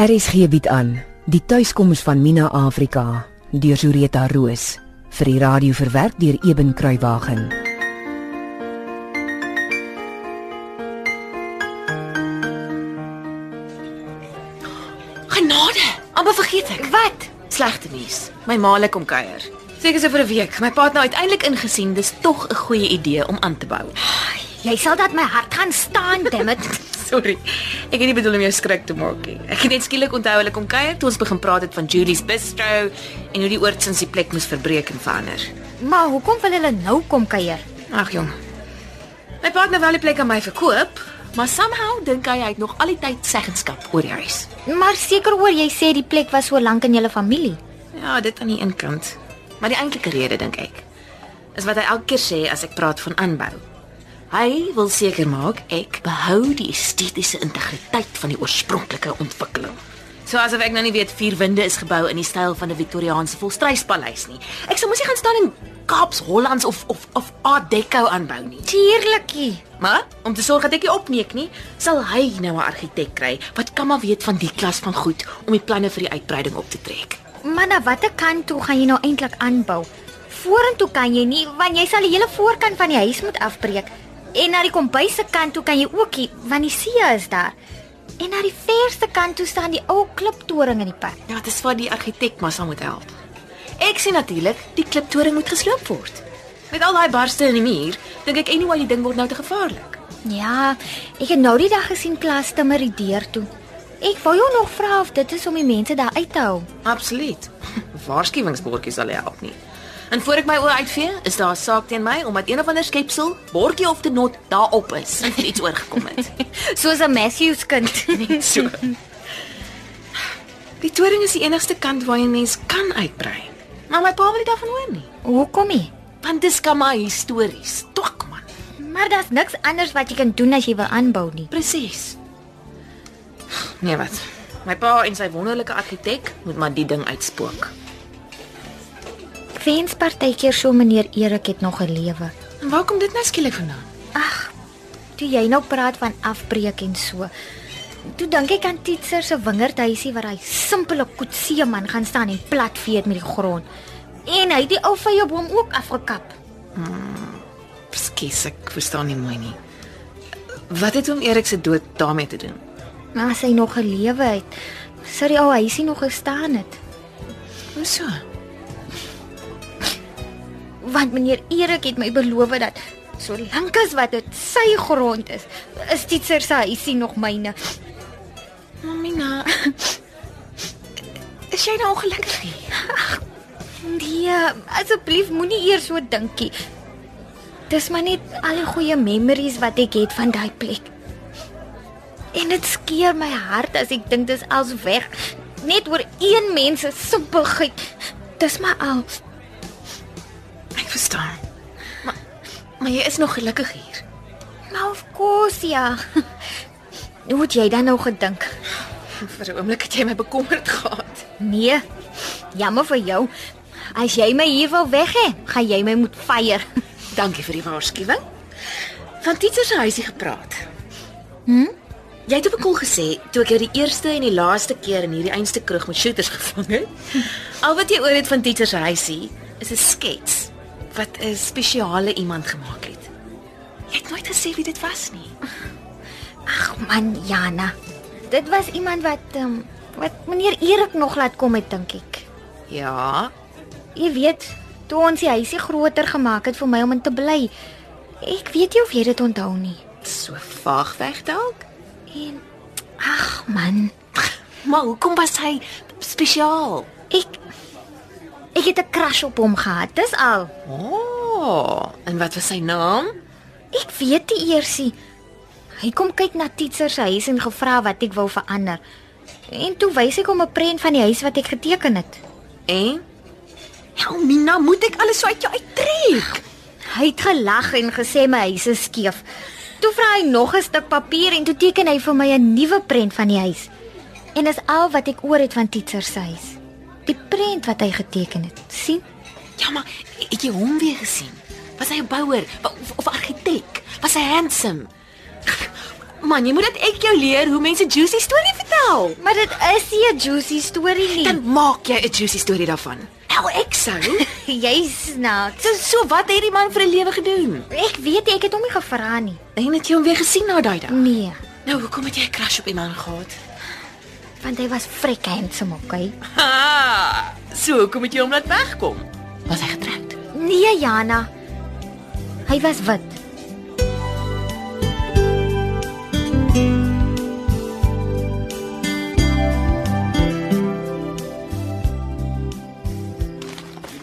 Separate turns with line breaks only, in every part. RSG bied aan die tuiskoms van Mina Afrika deur Zureta Roos vir die radio verwerk deur Eben Kruiwagen.
Genade, amper vergeet ek. Wat? Slegte nuus. My ma lê kom kuier. Seker so vir 'n week. My pa het nou uiteindelik ingesien dis tog 'n goeie idee om aan te bou.
Jy sal dat my hart gaan staan, dammit.
Sorry. Ek het nie bedoel om jou skrik te maak nie. Ek het net skielik onthou hulle kom kuier toe ons begin praat het van Julie's Bistro en hoe die oord sins die plek moes verbreek en verander.
maar hoekom wil hulle nou kom kuier?
Ag jong. My pa het nou wel die plek aan my verkoop, maar somehow dink hy hy het nog al die tyd seggenskap oor die huis.
Maar seker oor jy sê die plek was so lank in julle familie.
Ja, dit aan die een kant. Maar die eintlike rede dink ek is wat hy elke keer sê as ek praat van aanbou. Hy wil seker maak ek behou die estetiese integriteit van die oorspronklike ontwikkeling. So asof ek nou nie weet vier winde is gebou in die styl van 'n Victoriaanse volstruispaleis nie. Ek sou mos nie gaan staan en Kaaps Hollands of of of Art Deco aanbou nie.
Tuurlikie.
Maar om te sorg dat ek nie opneek nie, sal hy nou 'n argitek kry wat kan maar weet van die klas van goed om die planne vir die uitbreiding op te trek.
Maar na watter kant toe gaan jy nou eintlik aanbou? Vorentoe kan jy nie, want jy sal die hele voorkant van die huis moet afbreek. En na die kombuis se kant toe kan jy ook nie, want die see is daar. En na die verste kant toe staan die ou kliptoring in die pad.
Ja, dis waar die argitek maar sal moet help. Ek sien natuurlik die kliptoring moet gesloop word. Met al daai barste in die muur, dink ek anyway die ding word nou te gevaarlik.
Ja, ek het nou die dag gesien klas timmer die deur toe. Ek wou jou nog vra of dit is om die mense daar uit te hou.
Absoluut. Waarskuwingsbordjies sal help nie. En voor ek my oë uitvee, is daar 'n saak teen my omdat een of ander skepsel, bordjie of te not daarop is en vir iets oorgekom het.
Soos 'n Matthews kind.
Net so. Die toring is die enigste kant waar 'n mens kan uitbrei. Maar my pa wil nie daarvan hoor nie.
Hoekom nie?
Want dis kan maar histories. Tok man.
Maar daar's niks anders wat jy kan doen as jy wil aanbou nie.
Presies. Nee, wat? My pa en sy wonderlike argitek moet maar die ding uitspook.
Ek wens partykeer so meneer Erik het nog 'n lewe.
En waar kom dit nou skielik vandaan?
Toe jy nou praat van afbreek en so. Toe dink ek aan Titser se wingerdhuisie waar hy simpele koetsie man gaan staan en platvee het met die grond. En hy het die ou vye boom ook afgekap.
Skus, ek verstaan nie mooi nie. Wat het hom Erik se dood daarmee te doen?
Maar as hy nog gelewe het, sou die ou huisie nog gestaan het.
Hoe so?
Want meneer Erik het my beloof dat solank as wat dit sy grond is, is Titser se huisie nog myne.
Mamina. Is jy nou ongelukkig? nie?
Nee, asseblief moenie eers so dinkie. Dis maar net al die goeie memories wat ek het van daai plek. En dit skeer my hart as ek dink dis als weg. Net oor een mens se simpelheid. Dis maar al.
Ek verstaan. Maar maar jy is nog gelukkig hier.
Maar of course ja. Hoe het jy dan nou gedink?
Vir 'n oomblik het jy my bekommerd gehad.
Nee. Jammer vir jou. As jy my hier wil weg hê, gaan jy my moet fyer.
Dankie vir die waarskuwing. Van Titser se huisie gepraat. Hm? Jy het op 'n kol gesê toe ek jou die eerste en die laaste keer in hierdie einste kroeg met shooters gevang het. Al wat jy oor het van Titser se huisie is 'n skets wat 'n spesiale iemand gemaak het. Jy het nooit gesê wie dit was nie.
Ag man, Jana. Dit was iemand wat um, wat meneer Erik nog laat kom het dink ek.
Ja,
Jy weet, toe ons die huisie groter gemaak het vir my om in te bly. Ek weet nie of jy dit onthou nie.
so vaag weg dalk.
En ag man,
Maar hoekom was hy spesiaal?
ek ek het 'n crush op hom gehad. Dis al.
Oh, en wat was sy naam?
Ek weet nie eers nie. Hy kom kyk na Titser se huis en gevra wat ek wou verander. En toe wys ek hom 'n prent van die huis wat ek geteken het.
En Ja, Mina, moet ek alles so uit jou uittrek?
Hy het gelag en gesê my huis is skeef. Toe vra hy nog 'n stuk papier en toe teken hy vir my 'n nuwe prent van die huis. En dis al wat ek oor het van Titser se huis. Die prent wat hy geteken het. sien?
Ja, maar het jy hom weer gesien? Was hy 'n bouer of, of argitek? Was hy handsome? Man, jy moet dat ek jou leer hoe mense juicy storie vertel. wel.
Maar dit is nie 'n juicy storie nie.
Dan maak jy 'n juicy storie daarvan. Wel, Nee. Nou, ek sou.
Jy snaaks.
So, so wat het die man vir 'n lewe gedoen?
Ek weet nie, ek het hom nie gevra nie.
En het jy hom weer gesien na daai dag?
Nee,
Nou, hoekom het jy 'n crush op die man gehad?
want hy was frek handsome, okay?
Ha! So, hoekom het jy hom laat wegkom? Was hy getroud?
Nee, Jana. Hy was wit.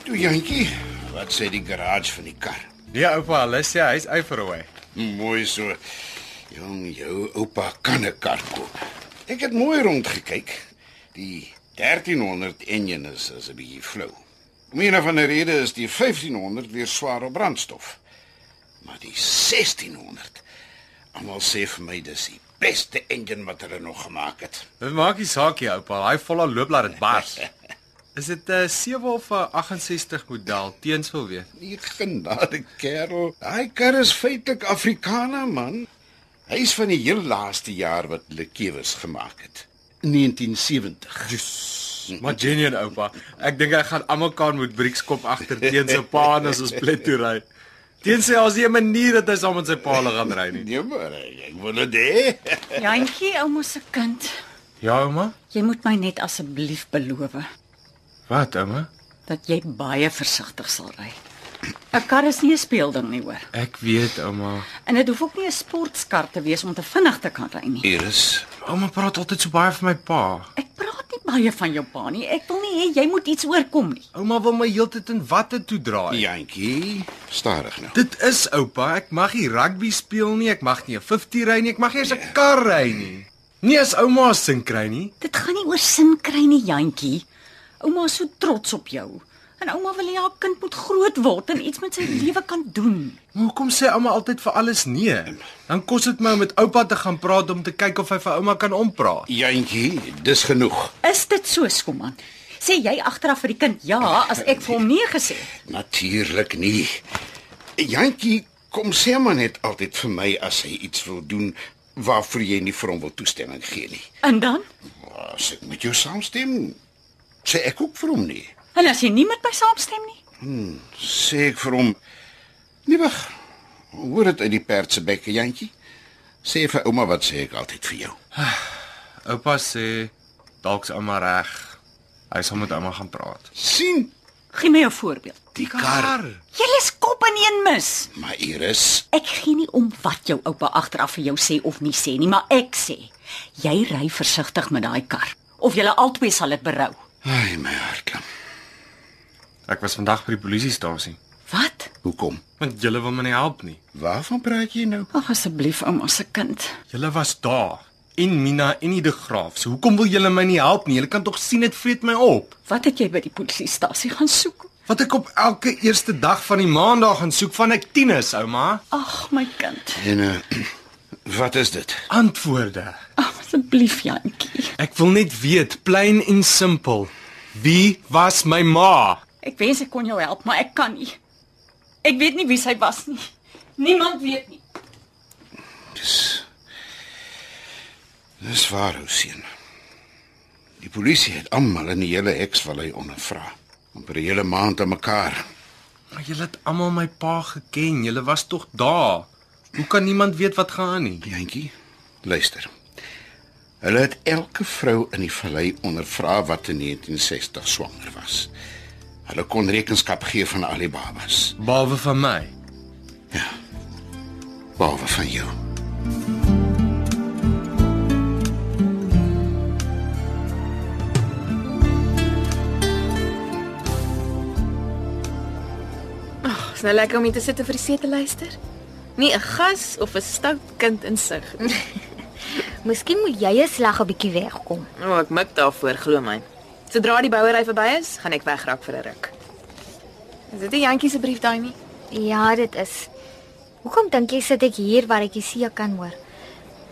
Toe Jantjie, wat sê die garage van die kar?
Ja, oupa, alles ja, hy's uit vir hoe.
Mooi so. Jong, jou oupa kan 'n kar koop. Ek het mooi rondgekyk. Die 1300 enjin is is 'n bietjie flou. Om een van die redes is die 1500 weer swaar op brandstof. Maar die 1600. Almal sê vir my dis die beste enjin wat hulle nog gemaak het.
Dit maak nie saak nie, oupa, hy vol al loop laat dit bars. Is dit 'n uh, 7 of 'n 68 model teens wil weet?
Die genade kerel. Daai kar is feitelik Afrikaner man. Hy's van die heel laaste jaar wat hulle kewes gemaak het. 1970.
Yes. Maar genuen oupa, ek dink hy gaan almal kan met briekskop agter teen sy pa en as ons plet toe ry. Teen sê as jy 'n manier dat hy saam met sy pa hulle gaan ry nie.
Nee maar, ek wil dit hê.
Jantjie, ouma se kind,
Ja, ouma.
jy moet my net asseblief beloof
Wat, ouma?
dat jy baie versigtig sal ry. 'n Kar is nie 'n speelding nie, hoor.
Ek weet, ouma.
En dit hoef ook nie 'n sportkar te wees om te vinnig te kan ry nie.
Iris,
Ouma praat altyd so baie van my pa.
Ek praat nie baie van jou pa nie. Ek wil nie hê jy moet iets oorkom nie.
Ouma wil my heeltyd in watte toe draai.
Jantjie, stadig nou.
Dit is oupa, ek mag nie rugby speel nie, ek mag nie 'n 50 ry nie, ek mag nie eens 'n kar ry nie. Nie as ouma sin kry nie.
Dit gaan nie oor sin kry nie, Jantjie. Ouma is so trots op jou. En ouma wil hê haar kind moet groot word en iets met sy lewe kan doen.
Maar hoekom sê ouma altyd vir alles nee? Dan kos dit my om met oupa te gaan praat om te kyk of hy vir ouma kan ompraat.
Jantjie, dis genoeg.
Is dit so, Skoman? Sê jy agteraf vir die kind ja as ek vir hom nee gesê het?
Natuurlik nie. Jantjie, kom sê maar net altyd vir my as hy iets wil doen waarvoor jy nie vir hom wil toestemming gee nie.
En dan?
As ek met jou saamstem, sê ek ook vir hom nie.
En as jy nie met my saamstem nie?
Sê ek vir hom, "Nee wag. Hoor dit uit die perd se bekke, Jantjie. Sê vir ouma wat sê ek altyd vir jou."
Oupa sê dalk's ouma reg. Hy sal met ouma gaan praat.
sien
Gee my 'n voorbeeld.
die kar.
Julle is kop in een mis.
Maar Iris,
Ek gee nie om wat jou oupa agteraf vir jou sê of nie sê nie, maar ek sê, jy ry versigtig met daai kar of julle albei sal dit berou.
ai my hartklop.
Ek was vandag by die polisiestasie.
Wat?
Hoekom?
Want julle wil my nie help nie.
Waarvan praat jy nou?
Ag asseblief, ouma se kind.
Julle was daar. En Mina en die De Graaf. So hoekom wil julle my nie help nie? Julle kan tog sien dit vreet my op.
Wat het jy by die polisiestasie gaan soek?
Wat ek op elke eerste dag van die maandag gaan soek van ek tieners, ouma.
Ag my kind.
En uh, wat is dit?
Antwoorde.
Ag asseblief, Jantjie.
Ek wil net weet, plain en simpel, wie was my ma?
Ek wens ek kon jou help, maar ek kan nie. Ek weet nie wie sy was nie. Niemand weet nie.
Dis Dis waar, ou seun. Die polisie het almal in die hele heksvallei ondervra. amper 'n hele maand aan mekaar.
Maar julle het almal my pa geken. Julle was tog daar. Hoe kan niemand weet wat gaan aan nie?
Jantjie, luister. Hulle het elke vrou in die vallei ondervra wat in 1960 swanger was. Hulle kon rekenskap gee van al die babas,
Behalwe van my.
behalwe van jou.
Dis nou lekker om hier te sit en vir die see te luister. Nie 'n gas of 'n stout kind in sig.
Miskien moet jy 'n slag 'n bietjie wegkom.
O, oh, ek mik daarvoor, glo my. Sodra die bouery verby is, gaan ek wegraak vir 'n ruk. Is dit nie Jantjie se brief daai nie?
Ja, dit is. Hoekom dink jy sit ek hier waar ek die see kan hoor?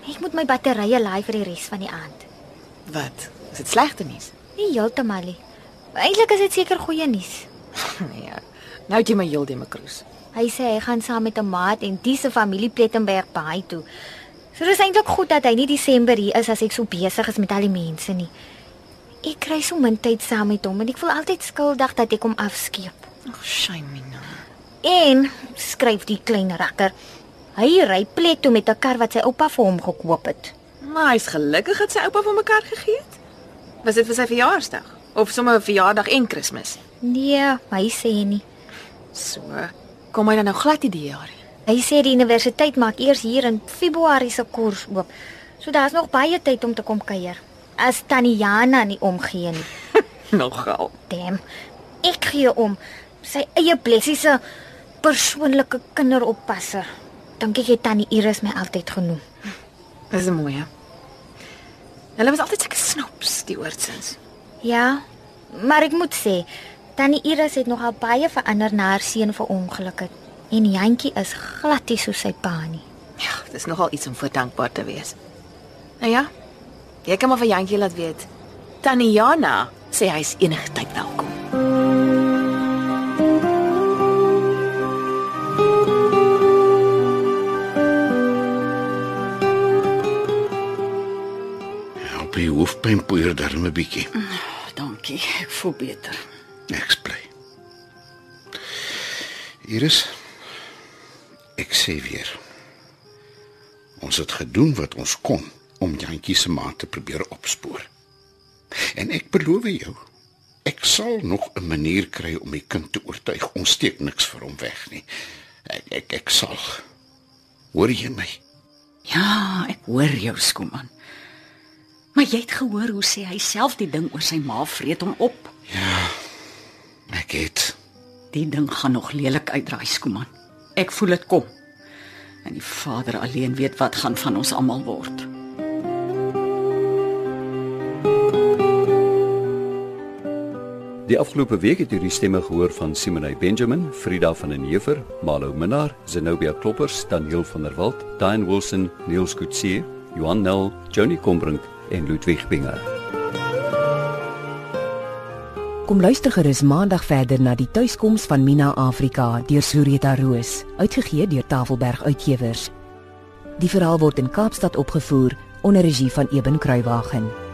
Ek moet my batterye laai vir die res van die aand.
Wat? Is dit slegte nuus?
Nie heeltemal nie. Eintlik is dit seker goeie nuus.
nee. Ja. Nou het jy my heeltemal kroes.
Hy sê hy gaan saam met 'n maat en dis se familie Plettenberg by toe. So dis eintlik goed dat hy nie Desember hier is as ek so besig is met al die mense nie. Ek kry so min tyd saam met hom en ek voel altyd skuldig dat ek hom afskeep.
Ag, shame Mina.
En skryf die klein rakker. Hy ry plek toe met 'n kar wat sy oupa vir hom gekoop het.
Maar hy's gelukkig dat sy oupa vir mekaar gegee het. Was dit vir sy verjaarsdag of sommer verjaardag en Kersfees?
Nee, hy sê nie.
So, kom hy dan nou glad nie die jaar nie.
Hy sê die universiteit maak eers hier in Februarie se koers oop. So daar's nog baie tyd om te kom kuier. As Tannie Jana nie omgee nie.
Nogal.
Damn. Ek gee om sy eie blessie se persoonlike kinderoppasser. Dink ek het Tannie Iris my altyd genoem.
Dis 'n mooi. hè? Hulle was altyd sulke snoeps, die oortsins.
Ja, maar ek moet sê, Tannie Iris het nogal baie verander na haar seun verongeluk het. En Jantjie is glad nie soos sy pa nie.
Ja, dis nogal iets om voor dankbaar te wees. Nou ja. Jy kan maar vir Jantjie laat weet. Tannie Jana sê hy's enige tyd welkom.
Help die hoofpyn poeier darm 'n bietjie.
Ah, Dankie, ek voel beter.
Ek's bly. Iris, ek sê weer. Ons het gedoen wat ons kon om Jantjie se ma te probeer opspoor. En ek beloof jou, ek sal nog 'n manier kry om die kind te oortuig. Ons steek niks vir hom weg nie. Ek ek, ek sal. Hoor jy my?
Ja, ek hoor jou skoeman. Maar jy het gehoor hoe sê hy self die ding oor sy ma vreet hom op.
Ek het
Die ding gaan nog lelik uitdraai skoeman. Ek voel dit kom. En die Vader alleen weet wat gaan van ons almal word.
Die afgelope week het hierdie stemme gehoor van Simonay Benjamin, Frida van den Heever, Malo Minnar, Zenobia Kloppers, Daniel van der Walt, Diane Wilson, Niels Kutse, Johan Nel, Johnny Combrink en Ludwig Binger.
Kom luister gerus maandag verder na die tuiskoms van Mina Afrika deur Sureta Roos, uitgegee deur Tafelberg Uitgewers. Die verhaal word in Kaapstad opgevoer onder regie van Eben Kruiwagen.